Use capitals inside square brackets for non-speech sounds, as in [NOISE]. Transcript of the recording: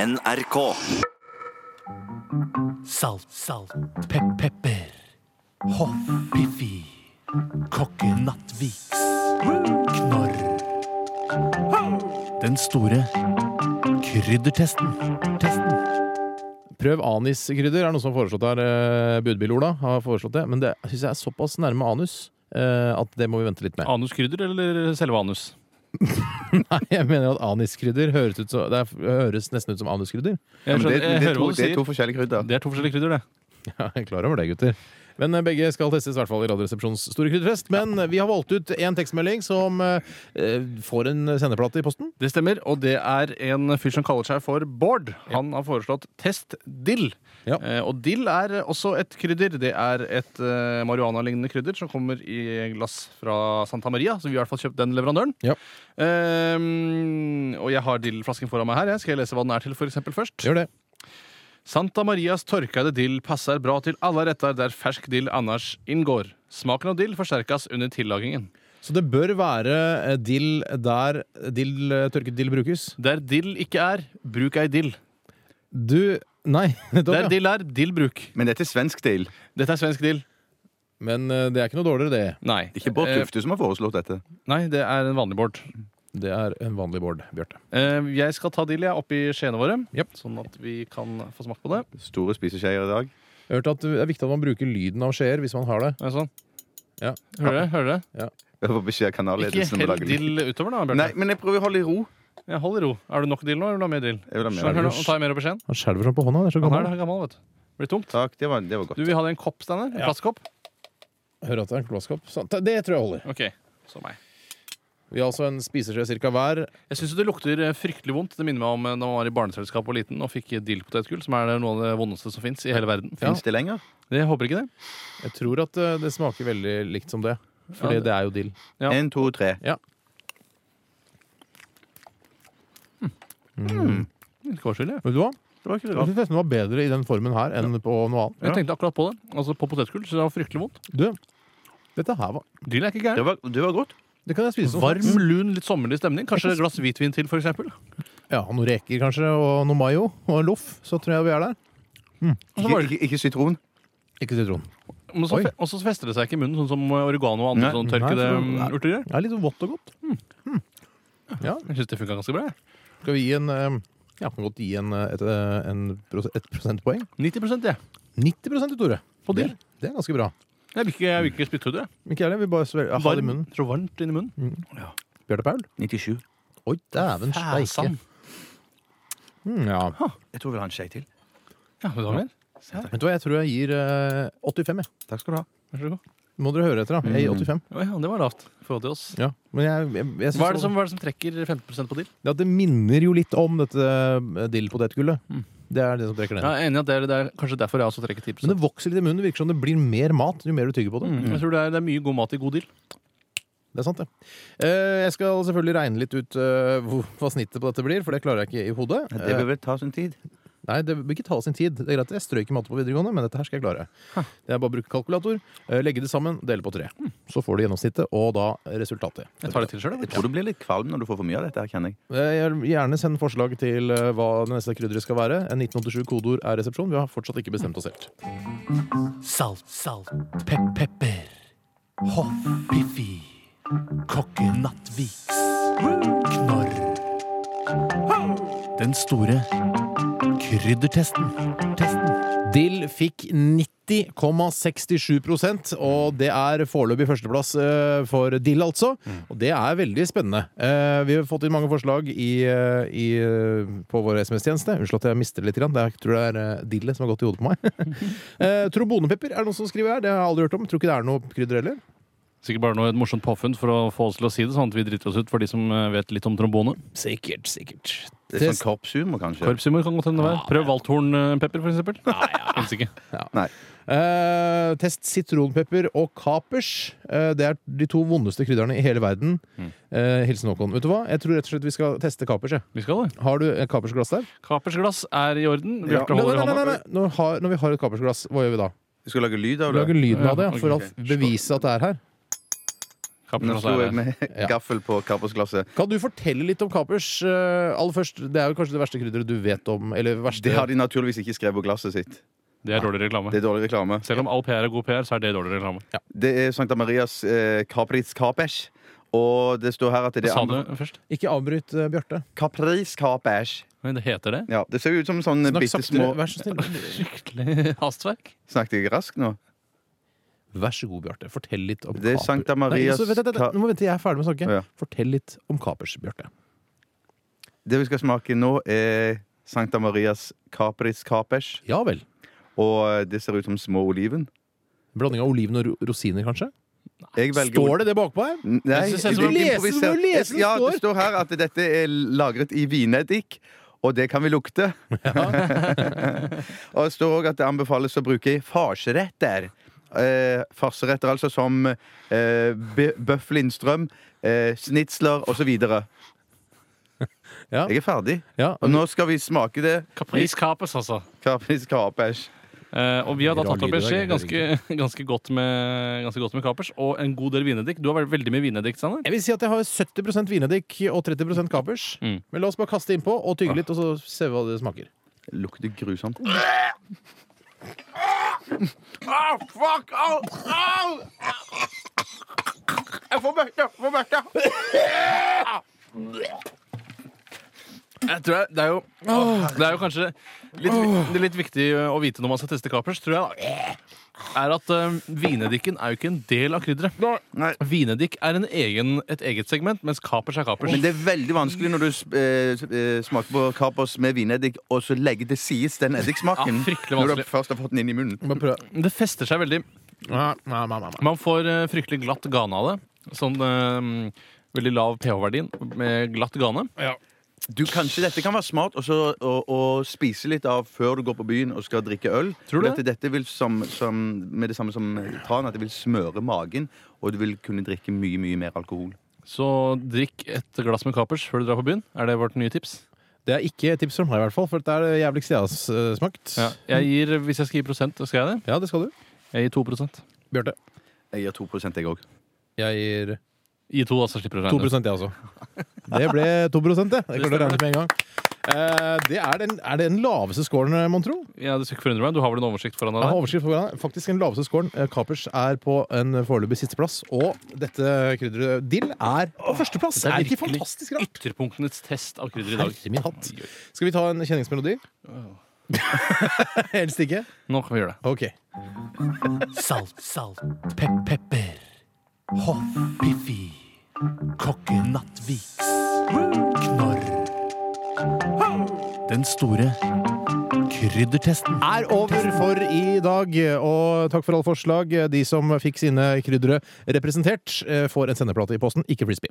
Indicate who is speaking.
Speaker 1: NRK.
Speaker 2: Salt, salt, pep, pepper. Hoff, piffi. Kokke, nattviks. Knorr. Den store kryddertesten. Testen.
Speaker 3: Prøv aniskrydder, er det noen som har foreslått her. eh, Budbil-Ola har foreslått det. Men det syns jeg er såpass nærme anus eh, at det må vi vente litt med.
Speaker 4: Anuskrydder eller selve anus?
Speaker 3: Nei, [LAUGHS] jeg mener at aniskrydder høres, ut så, det er, høres nesten ut som anuskrydder.
Speaker 4: Jeg,
Speaker 5: Men
Speaker 4: skjønner,
Speaker 5: det,
Speaker 4: jeg
Speaker 5: det, er
Speaker 4: hører
Speaker 5: to,
Speaker 4: hva du
Speaker 5: det er
Speaker 4: sier.
Speaker 5: to forskjellige krydder.
Speaker 4: Det er to forskjellige krydder, det.
Speaker 3: [LAUGHS] Ja, jeg er klar over det, gutter. Men eh, begge skal testes, i hvert fall i Radioresepsjonens store krydderfest. Men eh, vi har valgt ut én tekstmelding som eh, eh, får en sendeplate i posten.
Speaker 4: Det stemmer, og det er en fyr som kaller seg for Bård. Han har foreslått test dill.
Speaker 3: Ja.
Speaker 4: Eh, og dill er også et krydder. Det er et eh, marihuana-lignende krydder som kommer i glass fra Santa Maria. Så vi har i hvert fall kjøpt den leverandøren.
Speaker 3: Ja.
Speaker 4: Eh, og jeg har dillflasken foran meg her. Jeg skal jeg lese hva den er til for eksempel først?
Speaker 3: Gjør det.
Speaker 4: Santa Marias torkede dill passer bra til alle retter der fersk dill annars inngår. Smaken av dill forsterkes under tillagingen.
Speaker 3: Så det bør være eh, dill der dill, eh, tørket dill brukes.
Speaker 4: Der dill ikke er, bruk ei dill.
Speaker 3: Du Nei. [LAUGHS] nettopp,
Speaker 4: Der
Speaker 3: ja.
Speaker 4: dill er, dill bruk.
Speaker 5: Men dette er svensk deal.
Speaker 4: Dette er svensk dill.
Speaker 3: Men eh, det er ikke noe dårligere, det.
Speaker 4: Nei.
Speaker 5: Ikke Bård Tufte som har foreslått dette.
Speaker 4: Eh, nei, det er en vanlig Bård.
Speaker 3: Det er en vanlig Bård, Bjarte.
Speaker 4: Eh, jeg skal ta dill jeg, oppi skjeene våre,
Speaker 3: Japp.
Speaker 4: sånn at vi kan få smake på det.
Speaker 5: Store spiseskjeer i dag.
Speaker 3: Jeg har hørt at det er viktig at man bruker lyden av skjeer hvis man har det.
Speaker 4: Er det sånn?
Speaker 3: Ja.
Speaker 4: Hører dere? Hører dere?
Speaker 5: Jeg får beskjed av
Speaker 4: Ikke
Speaker 5: kanalledelsen. om å
Speaker 4: hell
Speaker 5: lage lyd.
Speaker 4: dill utover, da.
Speaker 5: Nei,
Speaker 4: Bjørte.
Speaker 5: men jeg prøver å holde i ro.
Speaker 4: Jeg holder ro. Er det nok dill nå? eller Vil du ha mer dill?
Speaker 5: Jeg vil ha mer.
Speaker 4: Sånn, hør nå, nå tar jeg mer oppi skjeen.
Speaker 3: Han skjelver sånn på hånda. Det er så
Speaker 4: Han er
Speaker 3: gammel.
Speaker 4: det her gammel, vet du. Blir tungt.
Speaker 5: Takk, det var, det var
Speaker 4: Du
Speaker 5: godt.
Speaker 4: vil ha deg en kopp, Steinar? En
Speaker 3: Ja.
Speaker 4: plastkopp?
Speaker 3: Hører at det er en glasskopp. Sånn, ta- Det tror jeg holder.
Speaker 4: Ok. Så meg.
Speaker 3: Vi har altså en spiseskje cirka hver.
Speaker 4: Jeg syns det lukter eh, fryktelig vondt. Det minner meg om eh, da man var i barneselskap og liten og fikk dillpotetgull, som er noe av det vondeste som fins i hele verden.
Speaker 3: Ja.
Speaker 5: Fins det lenger?
Speaker 4: Det jeg håper ikke det.
Speaker 3: Jeg tror at eh, det smaker veldig likt som det. Fordi
Speaker 4: Ja, det-
Speaker 3: det er jo dill.
Speaker 4: Ja.
Speaker 5: Én, to, tre.
Speaker 4: Litt kårsvill, jeg.
Speaker 3: Mm. Vet du hva?
Speaker 5: Det var ikke
Speaker 3: Jeg
Speaker 5: rart.
Speaker 3: synes nesten det var bedre i den formen her enn på noe annet.
Speaker 4: Jeg tenkte akkurat på det. Altså På potetgull. Så det var fryktelig vondt.
Speaker 3: Du, dette her var
Speaker 4: Dill er ikke gærent.
Speaker 5: Det var, det var godt.
Speaker 3: Det kan jeg spise som
Speaker 4: Varm,
Speaker 3: snacks.
Speaker 4: lun, litt sommerlig stemning. Kanskje et glass hvitvin til, f.eks. Og
Speaker 3: Ja, og noen reker kanskje, og noe mayo og en loff. Så tror jeg vi er der.
Speaker 4: så
Speaker 5: Ikke,
Speaker 4: var det-
Speaker 5: ikke, ikke sitron.
Speaker 3: Ikke sitron.
Speaker 4: men så
Speaker 3: Oi.
Speaker 4: fe- og så fester det seg ikke i munnen, sånn som oregano og andre
Speaker 5: Nei.
Speaker 4: sånne
Speaker 3: Nei,
Speaker 4: tørkede
Speaker 3: for-
Speaker 4: mm, urter gjør.
Speaker 3: Det er litt sånn vått og godt.
Speaker 4: Jeg syns det funka ganske bra. jeg.
Speaker 3: Skal vi gi en eh, Ja, kan godt gi en, eh, et, eh, en pros- et prosentpoeng.
Speaker 4: 90 jeg.
Speaker 3: 90 til Tore.
Speaker 4: På
Speaker 3: Det,
Speaker 4: dill.
Speaker 3: det er ganske bra.
Speaker 4: Jeg vil ikke, jeg vil ikke spytte ut det.
Speaker 3: Ikke jeg heller. Vi bare svelger. Ha det i munnen.
Speaker 4: Så varmt inni munnen.
Speaker 3: Bjarte Paul?
Speaker 5: 97.
Speaker 3: Oi, dæven steike.
Speaker 4: Fæsan.
Speaker 3: Mm, ja.
Speaker 5: Jeg tror vi har en skje til.
Speaker 4: Ja, vil du ha mer?
Speaker 3: Vet du hva, jeg tror jeg gir eh, 85, jeg.
Speaker 5: Takk skal du ha.
Speaker 4: Vær så god.
Speaker 3: Må dere høre etter, da. Jeg gir 85.
Speaker 4: Oi, ja, det var lavt i forhold til oss.
Speaker 3: Mm. Ja. Men jeg, jeg, jeg synes
Speaker 4: Hva er det som, hva er det som trekker 15 på dill?
Speaker 3: det at det minner jo litt om dette eh, dillpotetgullet.
Speaker 4: Mm.
Speaker 3: Det er det som trekker ned.
Speaker 4: Jeg er enig i at det er, det er kanskje derfor jeg også trekker 10
Speaker 3: Men det vokser litt i munnen. Det virker som det blir mer mat jo mer du tygger på det.
Speaker 4: Jeg tror det er, det er mye god mat i god dill.
Speaker 3: Det er sant, det. Eh, jeg skal selvfølgelig regne litt ut eh, hvor, hva snittet på dette blir, for det klarer jeg ikke i hodet.
Speaker 5: Det bør vel ta sin tid.
Speaker 3: Nei, det bør ikke ta sin tid. Det er greit, Jeg strøk i matte på videregående, men dette her skal jeg klare. Det er bare å bruke kalkulator, eh, legge det sammen, dele på tre. Så får du gjennomsnittet, og da resultatet.
Speaker 4: Hmm. Jeg tar det til sjøl.
Speaker 5: Jeg tror du blir litt kvalm når du får for mye av dette. her, kjenner jeg.
Speaker 3: Eh, Jeg vil gjerne send forslag til eh, hva det neste krydderet skal være. En 1987 kodeord er resepsjon. Vi har fortsatt ikke bestemt oss helt.
Speaker 2: Salt, salt, pep, pepper. Hoff, piffi. Kokke, nattviks. Knorr. Den store kryddertesten. Testen.
Speaker 3: Dill fikk 90,67 og det er foreløpig førsteplass eh, for Dill, altså.
Speaker 5: Mm.
Speaker 3: Og det er veldig spennende. Eh, Vi har fått inn mange forslag i, eh, i, eh, på vår SMS-tjeneste. Unnskyld at jeg mister det litt. grann. Det er, jeg tror det er eh, dillet som har gått i hodet på meg. [LAUGHS] Eh, Trombonepepper er det noen som skriver her. Det har jeg aldri hørt om. Tror ikke det er noe krydder heller.
Speaker 4: Sikkert bare noe et morsomt påfunn for å få oss til å si det, sånn at vi driter oss ut for de som eh, vet litt om trombone.
Speaker 3: Sikkert, sikkert.
Speaker 5: Det er sånn korpshumor, kanskje.
Speaker 4: Korpshumor kan godt hende det være. Prøv valthornpepper, for eksempel. [LAUGHS] Fins ikke.
Speaker 5: Nei.
Speaker 3: Eh, test sitronpepper og kapers. Eh, det er de to vondeste krydderne i hele verden.
Speaker 5: Mm.
Speaker 3: Eh, hilsen Håkon. Vet du hva? Jeg tror rett og slett vi skal teste kapers. Jeg.
Speaker 4: Vi skal det.
Speaker 3: Har du et kapersglass der?
Speaker 4: Kapersglass er i orden. Bjarte
Speaker 3: Nei, nei,
Speaker 4: holder i
Speaker 3: nei, nei,
Speaker 4: hånda.
Speaker 3: nei. Når, har, når vi har et kapersglass, hva gjør vi da?
Speaker 5: Du skal lage lyd av
Speaker 3: Vi
Speaker 5: det.
Speaker 3: lager lyden av det
Speaker 4: Ja,
Speaker 3: for å
Speaker 4: ok, ok.
Speaker 3: bevise at det er her.
Speaker 5: Nå slo jeg med
Speaker 3: Ja.
Speaker 5: gaffel på kappersglasset.
Speaker 3: Kan du fortelle litt om kapers? eh, Aller først, Det er jo kanskje det verste krydderet du vet om? Eller verste
Speaker 5: Det har de naturligvis ikke skrevet på glasset sitt.
Speaker 4: Det er dårlig reklame.
Speaker 5: Det er dårlig reklame.
Speaker 4: Selv om all PR er god PR, så er det dårlig reklame.
Speaker 5: Det er Sankta Marias eh, Capris Capers. Og det står her at det
Speaker 4: Hva
Speaker 5: er
Speaker 4: sa du først?
Speaker 3: Ikke avbryt eh, Bjarte.
Speaker 5: Capris Capers.
Speaker 4: Men Det heter det?
Speaker 5: Ja, det ser jo ut som sånn
Speaker 3: Snakk
Speaker 5: bitte
Speaker 3: saktere,
Speaker 5: små
Speaker 3: vær så snill.
Speaker 4: Skikkelig hastverk.
Speaker 5: Snakket jeg raskt nå?
Speaker 3: Vær så god, Bjarte. Fortell litt om
Speaker 5: Det er
Speaker 3: kapers.
Speaker 5: Sankta
Speaker 3: Nei,
Speaker 5: Marias
Speaker 3: så, vent, vent, vent,
Speaker 5: Ka-
Speaker 3: nå må vente, jeg er ferdig med å snakke.
Speaker 5: Ja.
Speaker 3: Fortell litt om kapers, Bjarte.
Speaker 5: Det vi skal smake nå, er Sankta Marias Capris Capers.
Speaker 3: Ja vel.
Speaker 5: Og det ser ut som små oliven.
Speaker 3: Blanding av oliven og ro- rosiner, kanskje?
Speaker 5: Jeg velger
Speaker 3: Står det det bakpå her?
Speaker 5: Nei,
Speaker 4: Jeg synes det ser ut
Speaker 5: du
Speaker 4: som-
Speaker 5: må lese-
Speaker 3: Du må lese det
Speaker 5: ja,
Speaker 3: står.
Speaker 5: det står her at dette er lagret i vineddik, og det kan vi lukte. [LAUGHS] og det står òg at det anbefales å bruke farseretter. Eh, farseretter altså som eh, bø- bøff Lindstrøm, eh, snitsler osv. Jeg
Speaker 3: Ja.
Speaker 5: er ferdig.
Speaker 3: Ja.
Speaker 5: Og nå skal vi smake det.
Speaker 4: Kapriskapes, altså.
Speaker 5: Kapris kapers.
Speaker 4: Eh, og vi har da
Speaker 3: Rar
Speaker 4: tatt opp
Speaker 3: lyd i
Speaker 4: en skje
Speaker 3: dag,
Speaker 4: ganske, [LAUGHS] ganske, godt med, ganske godt med kapers og en god del vineddik. Du har vært veldig mye vineddik, Sander.
Speaker 3: Jeg vil si at jeg har 70 vineddik og 30 kapers.
Speaker 4: Mm.
Speaker 3: Men la oss bare kaste innpå og tygge litt, og så se hva det smaker.
Speaker 5: Lukter grusomt.
Speaker 4: Jeg tror jeg, det, er jo, det er jo kanskje litt, det er litt viktig å vite når man skal teste kapers, tror jeg, da, er at eh, vineddikken er jo ikke en del av krydderet.
Speaker 5: Nei.
Speaker 4: Vineddik er en egen, et eget segment, mens kapers er kapers.
Speaker 5: Men det er veldig vanskelig når du eh, eh, smaker på kapers med vineddik, og så legger til sides den eddiksmaken.
Speaker 4: Ja, fryktelig
Speaker 5: når du
Speaker 4: vanskelig.
Speaker 5: først har fått den inn i munnen.
Speaker 3: Bare prøv.
Speaker 4: Det fester seg veldig.
Speaker 3: Ja, ja, ja, ja, ja.
Speaker 4: Man får eh, fryktelig glatt gane av det. Sånn eh, veldig lav pH-verdien med glatt gane.
Speaker 5: Du, Kanskje dette kan være smart også å, å spise litt av før du går på byen og skal drikke øl.
Speaker 4: Tror du
Speaker 5: Fordi at Dette vil som, som, med det samme som tran, at det vil smøre magen, og du vil kunne drikke mye, mye mer alkohol.
Speaker 4: Så drikk et glass med kapers før du drar på byen. Er det vårt nye tips?
Speaker 3: Det er ikke et tips fra meg, i hvert fall, for det er det jævligste jeg har s- eh, smakt.
Speaker 4: Ja. Jeg gir, hvis jeg skal gi prosent, skal jeg det?
Speaker 3: Ja, det skal du.
Speaker 4: Jeg gir 2
Speaker 3: Bjarte.
Speaker 5: Jeg gir 2 jeg òg.
Speaker 3: Jeg gir
Speaker 4: Gi 2, altså slipper du å
Speaker 3: 2
Speaker 4: regne.
Speaker 3: jeg også. Det ble 2 det. Det klarte jeg å regne med en gang. Eh, Det er den, er det den laveste scoren, eh, mon tro?
Speaker 4: Ja, det skal ikke forundre meg. Du har vel en oversikt foran
Speaker 3: Jeg har
Speaker 4: deg?
Speaker 3: overskrift på hverandre. Faktisk den laveste scoren. Eh, Kapers er på en foreløpig sisteplass. Og dette krydderet dill er på førsteplass.
Speaker 4: Det er
Speaker 3: Er det ikke
Speaker 4: virkelig
Speaker 3: fantastisk rart?
Speaker 4: Ytterpunktenes test av krydder i dag.
Speaker 3: Herre min hatt.
Speaker 4: Oi, oi.
Speaker 3: Skal vi ta en kjenningsmelodi? [LAUGHS] Helst ikke?
Speaker 4: Nå kan vi gjøre det.
Speaker 3: OK.
Speaker 2: Salt, salt, pep, pepper. Hoff, Piffi. Kokke Nattviks. Knorr. Den store kryddertesten.
Speaker 3: er over for i dag. Og takk for alle forslag. De som fikk sine kryddere representert, eh, får en sendeplate i posten, ikke frisbee.